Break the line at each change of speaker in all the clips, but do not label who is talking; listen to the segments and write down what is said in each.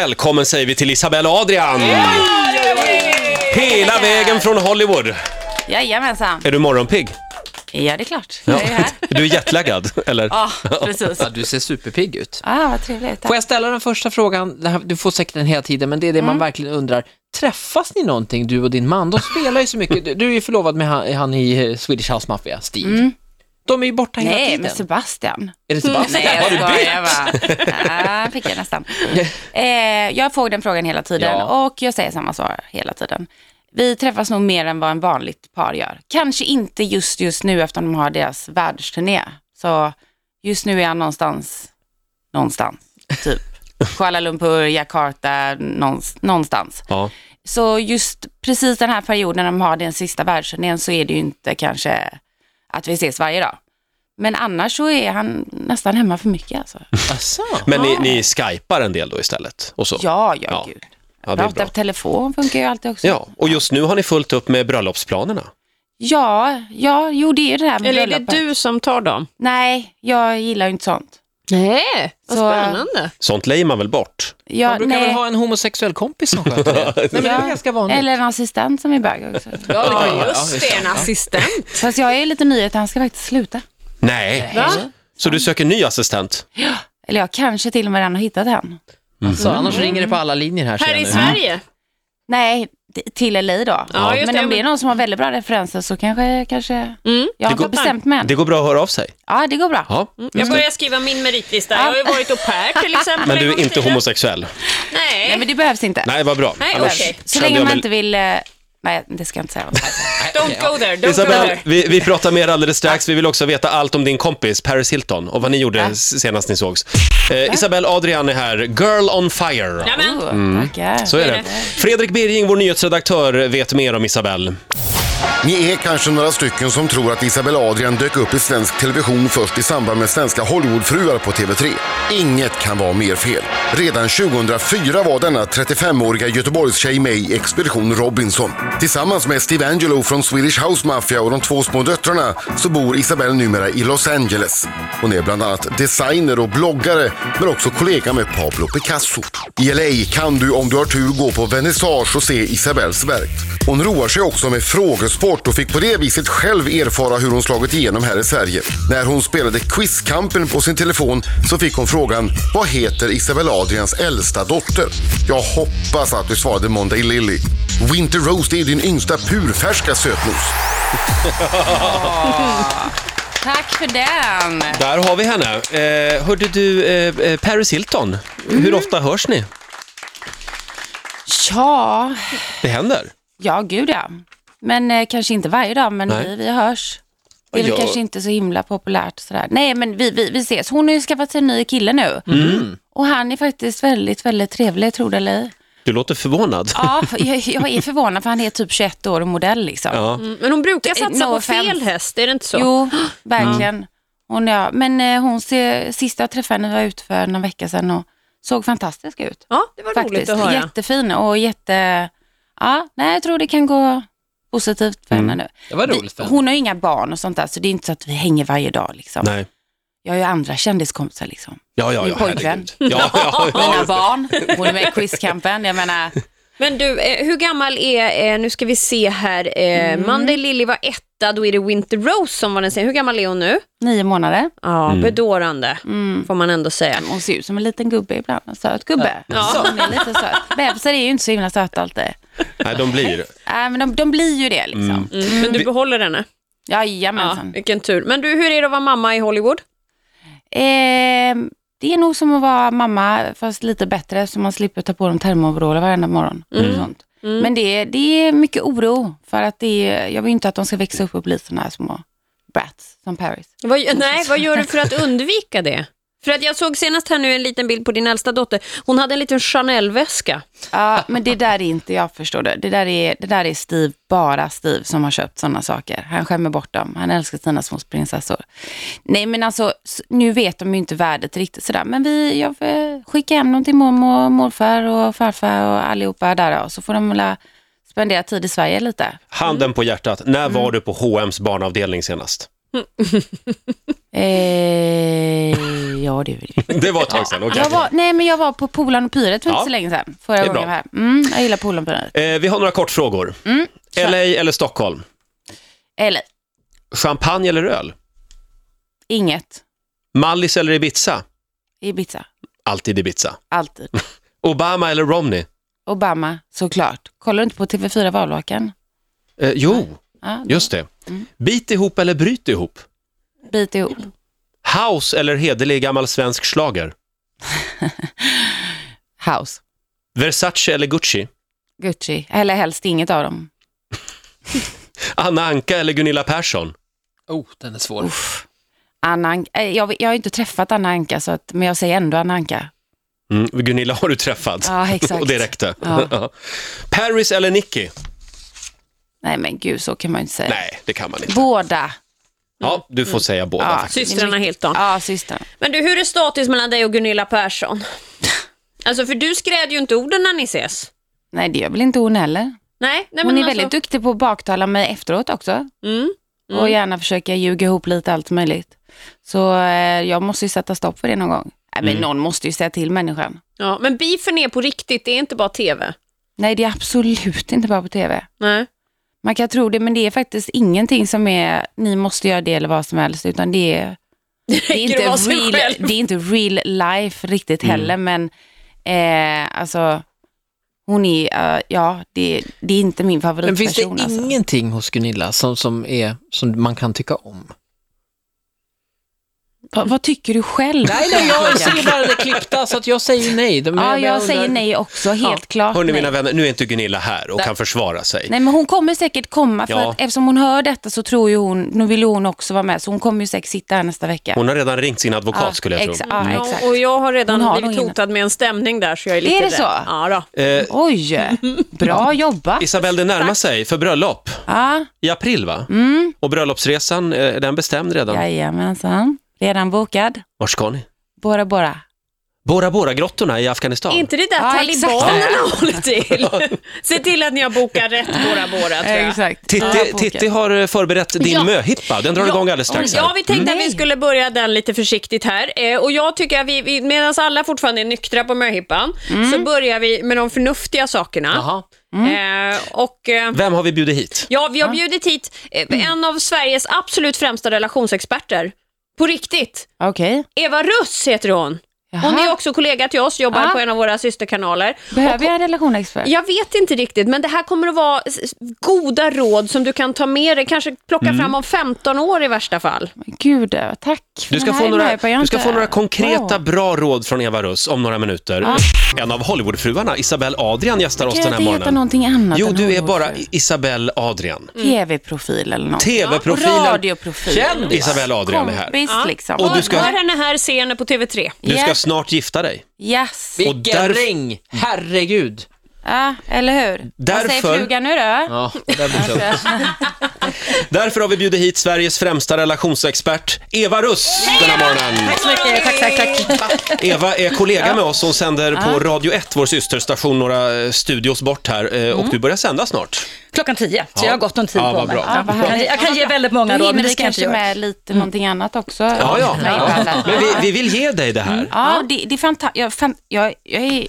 Välkommen säger vi till Isabella Adrian! Hela vägen från Hollywood.
Jajamensan.
Är du morgonpigg?
Ja, det är klart. Jag är här.
Du är jetlaggad, eller?
Ja, precis.
Ja, du ser superpigg ut.
Ah, vad trevligt.
Får jag ställa den första frågan? Det här- Du får säkert den hela tiden, men det är det
Mm.
man verkligen undrar. Träffas ni någonting, du och din man? De spelar ju så mycket. Du- Du är ju förlovad med han, han i eh, Swedish House Mafia, Steve. De är ju borta hela
Mm. Nej,
tiden.
men Sebastian.
Är det Sebastian?
Nej, jag
Har du
skojar
bytt?
jag bara. Ah, fick jag nästan. Eh, jag får den frågan hela tiden
Ja.
och jag säger samma svar hela tiden. Vi träffas nog mer än vad en vanligt par gör. Kanske inte just just nu eftersom de har deras världsturné. Så just nu är han någonstans, någonstans, typ. Kuala Lumpur, Jakarta, någons- någonstans.
Ja.
Så just precis den här perioden när de har den sista världsturnén så är det ju inte kanske att vi ses varje dag. Men annars så är han nästan hemma för mycket alltså.
Asså.
Men ni, ni skypar en del då istället? Och så.
Ja, ja,
Ja.
gud.
Ja, det är
Prata
bra.
på telefon funkar ju alltid också.
Ja, och just nu har ni fullt upp med bröllopsplanerna.
ja, ja jo det är ju det här med
Eller är det
bröllopet.
du som tar dem?
Nej, jag gillar ju inte sånt.
Nej, vad
Så-
spännande.
Sånt lejer man väl bort?
Jag,
Man brukar
nej.
väl ha en homosexuell kompis som sköter det? Nej, men det är
Ja.
ganska vanligt.
Eller en assistent som är bög också.
Ja, just det.
En assistent.
Fast jag är lite nyhet, han ska faktiskt sluta.
Nej.
Va?
Så du söker ny assistent?
Eller jag kanske till och med redan har hittat han.
Så annars ringer det på alla linjer här. ser
Här
jag
i
nu.
Sverige?
Nej, t- till LA då.
Ja, just
men
det.
om det är någon som har väldigt bra referenser så kanske, kanske
Mm.
jag har
går-
inte bestämt mig än.
Det går bra att höra av sig.
Ja, det går bra.
Ja.
Jag börjar skriva min meritlista. Jag har ju varit au pair till exempel.
Men
en
du
gång
är
i
inte
tiden.
homosexuell?
Nej,
Nej,
men det behövs inte.
Nej, vad bra.
Nej,
Annars
okej.
Så
kände
länge
jag
man
väl-
inte vill... eh, Nej, det ska jag inte säga. vad som helst.
don't go there. Don't go
Isabel,
there.
vi, vi pratar mer alldeles strax. Vi vill också veta allt om din kompis Paris Hilton och vad ni gjorde s- senast ni sågs. Eh, Isabel Adrian är här, Girl on Fire.
Ja, men,
Oh, Tackar.
Mm. Så är det. Fredrik Birging, vår nyhetsredaktör, vet mer om Isabel.
Ni är kanske några stycken som tror att Isabella Adrian dök upp i svensk television först i samband med svenska Hollywoodfruar på TV3. Inget kan vara mer fel. Redan 2004 var denna 35-åriga Göteborgstjej med i Expedition Robinson. Tillsammans med Steve Angelo från Swedish House Mafia och de två små döttrarna så bor Isabelle numera i Los Angeles. Hon är bland annat designer och bloggare men också kollega med Pablo Picasso. I LA kan du om du har tur gå på vernissage och se Isabelles verk. Hon roar sig också med frågesport och fick på det viset själv erfara hur hon slagit igenom här i Sverige. När hon spelade Quizkampen på sin telefon så fick hon frågan Vad heter Isabella Adrians äldsta dotter? Jag hoppas att du svarade Monday Lily. Winter Rose det är din yngsta purfärska sötnos.
Tack för den.
Där har vi henne. Eh, hörde du eh, eh, Paris Hilton? Hur ofta hörs ni?
Ja,
Det händer.
ja gud ja. Men eh, kanske inte varje dag, men
Nej.
vi, vi hörs. Det är väl
Ja.
kanske inte så himla populärt sådär. Nej, men vi, vi, vi ses. Hon har ju skaffat sig en ny kille nu.
Mm.
Och han är faktiskt väldigt, väldigt trevlig, tror det eller ej.
Du låter förvånad.
Ja, jag, jag är förvånad för han är typ 21 år och modell liksom.
Ja.
Mm, men hon brukar satsa
No
på
offense.
fel häst, är det inte så?
Jo,
Mm.
verkligen. Hon, ja. Men eh, hon ser, sista jag träffade henne var ute för någon vecka sedan och såg fantastisk ut.
Ja, det var roligt
Faktiskt.
att höra.
Jättefin och jätte... Ja, nej, jag tror det kan gå positivt för henne
Mm.
nu.
Det var roligt. för
Vi,
henne.
hon har ju inga barn och sånt där, så det är inte så att vi hänger varje dag. Liksom.
Nej.
Jag har ju andra kändiskompisar. Liksom.
Ja, ja,
Min
ja.
pojkvän.
herregud. Ja, ja,
Mina
ja.
barn, hon är med i Quizkampen. Jag menar,
Men du, eh, hur gammal är, eh, nu ska vi se här, eh, Monday Lily var etta, då är det Winter Rose som var den sen. Hur gammal är hon nu?
nio månader.
Ja, bedårande får man ändå säga.
Hon ser ut som en liten gubbe ibland. En söt gubbe.
Ja.
Så hon är lite söt. Bebisar är ju inte så himla söta alltid.
Nej, de blir.
Nej, men de, de blir ju det liksom. Mm.
Men du behåller henne? Ja,
Jajamensan.
vilken tur. Men du, hur är det att vara mamma i Hollywood?
Ehm, det är nog som att vara mamma, fast lite bättre, så man slipper ta på dem termobroller varenda morgon. Och sånt.
Mm.
Men det, är- det är mycket oro, för att det är, jag vill ju inte att de ska växa upp och bli såna här små brats som Paris.
Vad, nej, vad gör du för att undvika det? För att jag såg senast här nu en liten bild på din äldsta dotter. Hon hade en liten Chanel-väska.
Ja, men det där är inte jag förstår det. Det där är, det där är Steve, bara Steve som har köpt sådana saker. Han skämmer bort dem. Han älskar sina små prinsessor. Nej, men alltså, s- nu vet de ju inte värdet riktigt sådär. Men vi, jag eh, skickar hem dem till mormor, och morfar och farfar och allihopa där då. Så får de väl eh, spendera tid i Sverige lite.
Handen på hjärtat, när var du på H&M's barnavdelning senast?
Eh, ja, det vill vi.
Det var ett tag sedan, okej.
Jag var, nej, men jag var på Polan och Pyret för
Ja.
inte så länge sedan. Förra
Det är
gången jag var
bra.
här. Mm, jag gillar Polan och Pyret.
Eh, vi har några kortfrågor.
Mm,
LA eller Stockholm?
Eller,
Champagne eller öl?
inget.
Mallis eller Ibiza?
Ibiza.
Alltid Ibiza.
Alltid.
Obama eller Romney?
Obama, såklart. Kollar du inte på TV4 Valvakan?
Eh, jo,
Ja,
just det.
Mm.
Bit ihop eller bryt ihop?
Bit ihop.
House eller hederlig gammal svensk slager?
House.
Versace eller Gucci?
Gucci. Eller helst inget av dem.
Anna Anka eller Gunilla Persson?
Oh, den är svår.
Uff. Anna Anka. eh, Jag, jag har inte träffat Anna Anka, så att, men jag säger ändå Anna Anka.
Mm, Gunilla har du träffat.
Ja, exakt.
Och det räckte.
Ja. Eh.
Ja. Paris eller Nicky?
Nej, men gud, så kan man ju inte säga.
Nej, det kan man inte.
Båda.
Ja, du får säga båda.
Mm. Ja.
faktiskt.
Systrarna Hilton.
Ja, systern.
Men du, hur är status mellan dig och Gunilla Persson? Alltså, för du skräder ju inte orden när ni ses.
Nej, det gör väl inte hon heller.
Nej, nej
Hon
men
är
alltså,
väldigt duktig på att baktala mig efteråt också.
Mm.
Och gärna försöka ljuga ihop lite allt möjligt. Så eh, jag måste ju sätta stopp för det någon gång. Nej,
Mm.
men Någon måste ju säga till människan.
Ja, men beefen är på riktigt, det är inte bara tv.
Nej, det är absolut inte bara på tv.
Nej.
Man kan tro det, men det är faktiskt ingenting som är ni måste göra det eller vad som helst, utan det är, det är,
att vara sig
real,
själv.
det är inte real life riktigt
Mm.
heller, men eh, alltså hon är, eh, ja, det, det är inte min
Men finns det
favoritperson. alltså.
ingenting hos Gunilla som, som, är, som man kan tycka om?
Va, vad tycker du själv?
Nej, nej, jag ser bara det klippta, så att jag säger nej. De-
Ja,
men
jag
undrar-
säger nej också, helt klart.
Hörni
nej.
mina vänner, nu är inte Gunilla här och kan försvara sig.
nej, men hon kommer säkert komma, för
Ja.
att eftersom hon hör detta så tror ju hon, nu vill ju hon också vara med, så hon kommer ju säkert sitta här nästa vecka.
Hon har redan ringt sin advokat
Ja,
skulle jag tro.
exa-
Mm.
ja,
Ja,
exakt.
och jag har redan
Hon har
blivit
nog ingen-
hotad med en stämning där, så jag är lite
Är det
rädd.
så?
Ja, då.
Eh,
Oj, bra jobbat.
Isabelle, det närmar sig för bröllop
Ja,
i april va?
Mm.
Och bröllopsresan, eh, är den bestämd redan?
jajamensan. Redan bokad.
Vart ska ni?
Bora Bora.
Bora Bora-grottorna i Afghanistan?
Är inte det där
Ja,
talibanerna
exakt.
håller till? Se till att ni har bokat rätt Bora Bora, tror jag.
Exakt.
Titti,
Ja,
Titti har eh, förberett din
Ja.
möhippa, den drar igång alldeles strax. här.
Ja, vi tänkte att vi
Nej.
skulle börja den lite försiktigt här. Eh, och jag tycker att vi, vi medan alla fortfarande är nyktra på möhippan, så börjar vi med de förnuftiga sakerna.
Jaha.
Eh, och... Eh,
Vem har vi bjudit hit?
Ja, vi har bjudit hit eh, en av Sveriges absolut främsta relationsexperter. På riktigt.
Okej.
Eva Russ heter hon. Hon
Jaha.
är också kollega till oss, jobbar
Ah.
på en av våra systerkanaler.
Behöver jag en relationsexpert?
Jag vet inte riktigt, men det här kommer att vara s- goda råd som du kan ta med dig, kanske plocka
Mm.
fram om 15 år i värsta fall.
Gud, eh, tack. för
Du ska,
den här
få några,
möhippan. Jag har
du ska
inte-
få några konkreta
Wow.
bra råd från Eva Russ om några minuter. En av Hollywoodfruarna, Isabelle Adrian, gästar oss
Kan
den här
jag inte heta
morgonen.
någonting annat
Jo,
än
du är
homo-
bara Isabelle Adrian.
TV-profil eller något.
TV-profilen.
Och radioprofil.
Känd Isabelle Adrian är här.
Kompis liksom.
Och du ska-
Hör henne här, se henne på TV3.
Du ska
Ja.
snart gifta dig.
Yes.
Och
Vilken
där-
ring! Herregud!
Ja, eller hur? Vad säger
Därför-
frugan nu då?
Ja, det där blir tufft.
Därför har vi bjudit hit Sveriges främsta relationsexpert, Eva Russ, den här morgonen.
Tack så mycket. Tack, tack, tack.
Eva är kollega med oss. Hon sänder på Radio 1, vår systerstation, några eh, studios bort här. eh, Och du börjar sända snart.
Klockan 10, så jag har gott om tid
Ja,
på
vad
mig.
bra.
Ja, vad
Jag kan-
härligt.
Jag kan ge väldigt
Då
många råd,
hinner
men det
vi
ska jag inte
kanske
göra.
med lite någonting annat också.
Mm. Ja, ja.
Nej, Mm.
ja.
ibland.
Men vi, vi vill ge dig det här.
Ja, det, det är fantastiskt. Jag, fan, jag, jag är...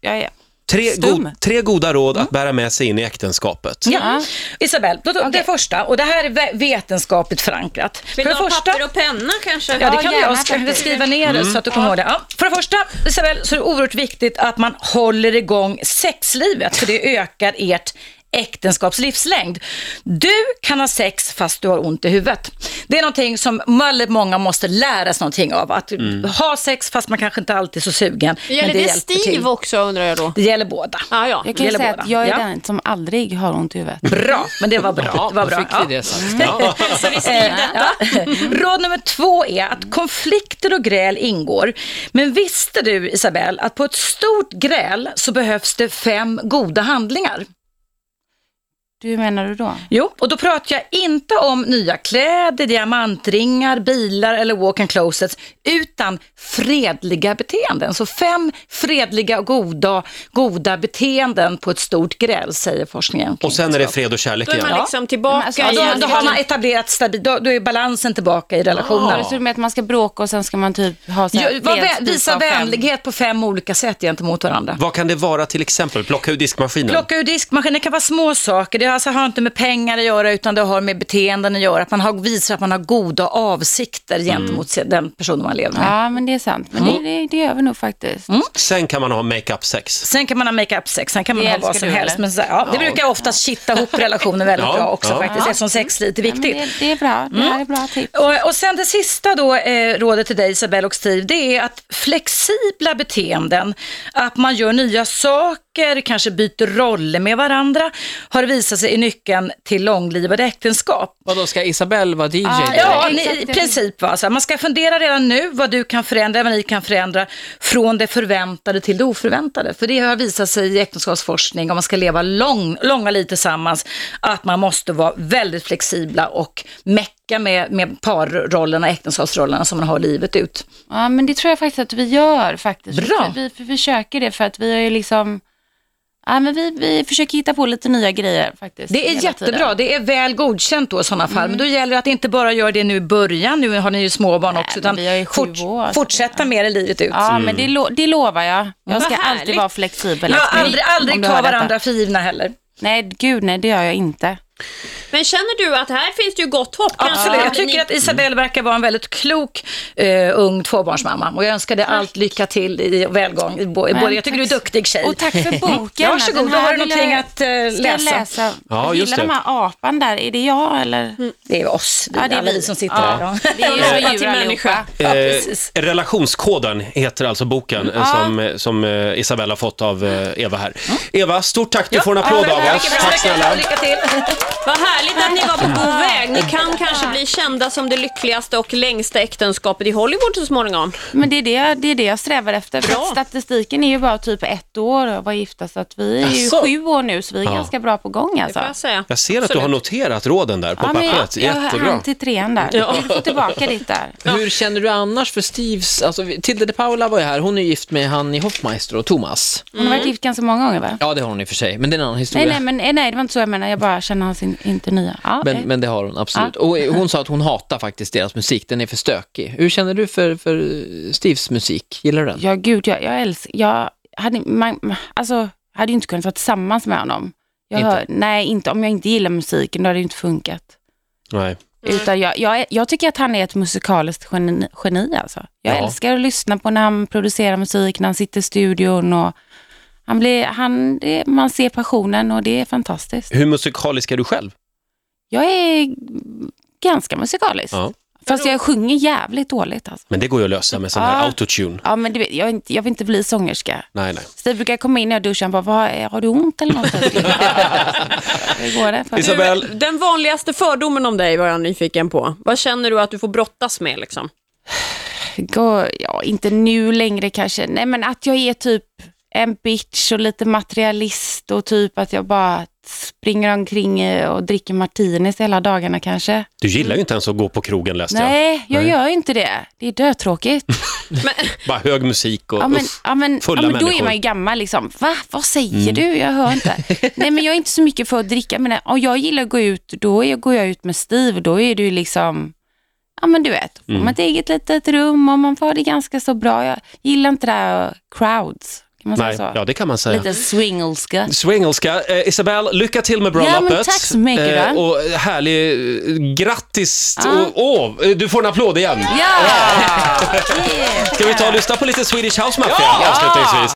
Jag är
Tre,
Stum.
go- tre goda råd att bära med sig in i äktenskapet.
Ja. Isabel, då, det första, och det här är ve- vetenskapligt förankrat.
Vill
För
du
det
ha
första,
papper och penna kanske?
Ja, det
Ja,
kan du
gärna
göra. Så kan vi
faktiskt.
skriva ner det så att du kommer ihåg
Mm.
det. Ja. För det första, Isabel, så är det oerhört viktigt att man håller igång sexlivet, för det ökar ert äktenskapslivslängd. Du kan ha sex fast du har ont i huvudet. Det är någonting som väldigt många måste lära sig någonting av. Att
Mm.
ha sex fast man kanske inte alltid är så sugen.
Gäller
men
det,
hjälper till.
Steve också undrar jag då?
Det gäller båda.
Ja, ja.
jag kan ju
Gäller
säga
båda.
att jag är
Ja.
den som aldrig har ont i huvudet.
Bra, men det var bra.
Ja,
det var
då
bra.
fick
Ja.
vi det sagt. Ja.
Eh, ja. Råd nummer två är att konflikter och gräl ingår. Men visste du, Isabel, att på ett stort gräl så behövs det fem goda handlingar?
Du, hur menar du då?
Jo, och då pratar jag inte om nya kläder, diamantringar, bilar eller walk-in closets, utan fredliga beteenden. Så fem fredliga och goda, goda beteenden på ett stort gräl, säger forskningen. kring
Och sen är det
vänskap.
fred och kärlek
Då är
igen.
man
Ja.
liksom tillbaka
alltså,
Ja,
i...
då, då har man etablerat stabil, då, då är balansen tillbaka i relationen.
Så du menar att man ska bråka och sen ska man typ ha så här
Ja, var, vä-
fredspris
visa
av fem?
vänlighet på fem olika sätt gentemot varandra.
Vad kan det vara till exempel? Plocka ur diskmaskinen?
Plocka ur diskmaskinen, det kan vara små saker. Det alltså har inte med pengar att göra utan det har med beteenden att göra. Att man har, visar att man har goda avsikter gentemot se- den personen man lever med.
Mm. Ja, men det är sant. Men
Mm.
det, det, det gör vi nog faktiskt.
Sen kan man ha makeup-sex.
Sen kan man ha makeup-sex, sen kan man
Det
ha vad
älskar
som
du,
helst.
eller?
Men så, ja, det brukar oftast kitta ihop relationer väldigt
Ja,
bra också
ja.
faktiskt,
Ja.
eftersom sexlivet är
Ja, men
viktigt. Mm.
det, det är bra. Det här är bra tips.
Och, och sen det sista då, eh, rådet till dig Isabelle och Steve, det är att flexibla beteenden, att man gör nya saker, kanske byter roller med varandra, har visat sig i nyckeln till långlivade äktenskap.
Vadå, ska Isabelle vara DJ?
Ja,
då?
Ja,
exakt.
ni, i princip. Va? Så här, man ska fundera redan nu vad du kan förändra, vad ni kan förändra, från det förväntade till det oförväntade. För det har visat sig i äktenskapsforskning, om man ska leva lång, långa liv tillsammans, att man måste vara väldigt flexibla och mecka med, med parrollerna, äktenskapsrollerna som man har livet ut.
Ja, men det tror jag faktiskt att vi gör faktiskt.
Bra.
Vi, vi försöker det för att vi har ju liksom... Ja, men vi, vi försöker hitta på lite nya grejer faktiskt.
Det är
hela
jättebra,
tiden. Mm.
det är väl godkänt då i sådana fall. Men då gäller det att inte bara göra det nu i början, nu har ni ju småbarn också,
men
utan
vi har ju sju år, så
fortsätta med det livet ut.
Ja,
Mm.
men det, lo- det lovar jag. Jag
Vad
ska
härligt.
alltid vara flexibel.
Ja,
Astrid,
aldrig
om
aldrig
du
ta
hör detta.
varandra Eh, för givna heller.
Nej, gud nej, det gör jag inte.
Men känner du att här finns det ju gott hopp?
Absolut.
Kanske
Alltså, Jag tycker
ni-
att Isabelle verkar vara en väldigt klok eh, ung tvåbarnsmamma och jag önskar dig allt lycka till i och välgång. I bo- i både, jag tycker du är en duktig tjej.
Och tack för boken.
Varsågod,
Den
då
här
har du
vill
någonting
jag-
att eh,
Ska jag
läsa.
läsa?
Ja,
jag
just
gillar den
det.
här apan där. Är det jag eller?
Det är oss, vi,
Ja, det är
alla
vi.
Mm. vi som sitter
Ja.
här. Ja.
Vi är ju
Apa
så
till
djur allihopa.
människa.
Ja,
Eh,
precis.
relationskoden heter alltså boken eh, som, eh, som eh, Isabella har fått av eh, Eva här. Eva, stort tack. Du får en applåd
Ja,
av
mycket
oss.
bra.
Tack snälla.
Lycka till.
Vad härligt att ni var på god väg. Ni kan kanske bli kända som det lyckligaste och längsta äktenskapet i Hollywood så småningom.
Men det är det, jag- det är det jag strävar efter. För
Bra.
att statistiken är ju bara typ ett år att vara gifta, så att vi är ju
Asså?
sju år nu, så vi är ganska bra på gång
Det
alltså.
får jag säga.
Jag ser att du har noterat råden där på
Ja, men jag,
pappret.
jag
Jättebra.
hann till trean där.
Ja.
Du får tillbaka ditt där.
Hur känner du annars för Steves, alltså Tilde de Paula var ju här, hon är gift med han i Hoffmeister och Thomas.
Hon har varit
Mm.
gift ganska många gånger va?
Ja, det har hon i och för sig, men det är en annan historia.
Nej, nej, men, eh, nej, det var inte så jag menade. Jag bara känner hans in, inte nya. Ja,
Men,
eh.
men det har hon absolut. Och hon sa att hon hatar faktiskt deras musik, den är för stökig. Hur känner du för, för Steves musik? Gillar du den?
Ja, gud, jag, jag älskar... Jag hade, man, alltså, hade ju inte kunnat vara tillsammans med honom. Jag
Inte?
hör, nej, inte om jag inte gillar musiken, då hade det ju inte funkat.
Nej.
Utan jag, jag, jag tycker att han är ett musikaliskt geni, geni alltså. Jag
Ja.
älskar att lyssna på när han producerar musik, när han sitter i studion och han blir, han, det, man ser passionen och det är fantastiskt.
Hur musikalisk är du själv?
Jag är ganska musikalisk.
Ja.
Fast jag sjunger jävligt dåligt alltså.
Men det går ju att lösa med sån här
Ja.
autotune.
Ja, men du vet, jag, är inte, jag vill inte bli sångerska.
Nej, nej.
Steve brukar komma in när jag duschar och bara, Vad, är- har du ont eller något? Hur går det?
Isabel- Isabel.
Den vanligaste fördomen om dig var jag nyfiken på. Vad känner du att du får brottas med liksom?
gå, ja, inte nu längre kanske, nej men att jag är typ en bitch och lite materialist och typ att jag bara springer omkring eh, och dricker martinis hela dagarna kanske.
Du gillar ju inte ens att gå på krogen läste jag.
Nej, jag gör ju inte det. Det är dötråkigt.
Bara hög musik och
Ja, men, alltså,
uff.
ja, men, ja,
Fulla
men då är
människor. Mm.
man ju gammal liksom. Va? Vad säger du? Jag hör inte. Nej, men jag är inte så mycket för att dricka. Men eh, om jag gillar att gå ut, då är, går jag ut med Steve. Då är det ju liksom, ja men du vet, får man
Mm.
ett eget litet rum och man får ha det ganska så bra. Jag gillar inte det här crowds, kan man
Nej,
säga så?
ja det kan man säga.
alltså, Lite swingelska.
Swingelska. Eh, Isabel, lycka till med
Ja,
bröllopet.
men tack så mycket,
Eh,
då.
och härlig, eh, grattis.
Ja.
Och, åh, eh, du får en applåd igen.
Ja!
Ska vi ta och lyssna på lite Swedish House Mafia avslutningsvis?